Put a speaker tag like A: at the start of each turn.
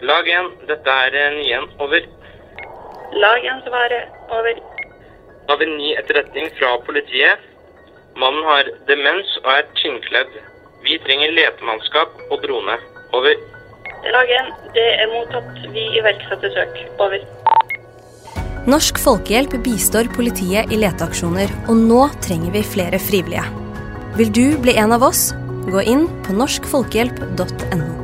A: Lag 1, dette er eh, 9-1, over.
B: Lag 1 svarer. Over.
A: Da har vi ny etterretning fra politiet. Mannen har demens og er skinnkledd. Vi trenger letemannskap og drone. Over.
B: Lag 1, det er mottatt. Vi iverksetter søk. Over.
C: Norsk Folkehjelp bistår politiet i leteaksjoner, og nå trenger vi flere frivillige. Vil du bli en av oss? Gå inn på norskfolkehjelp.no.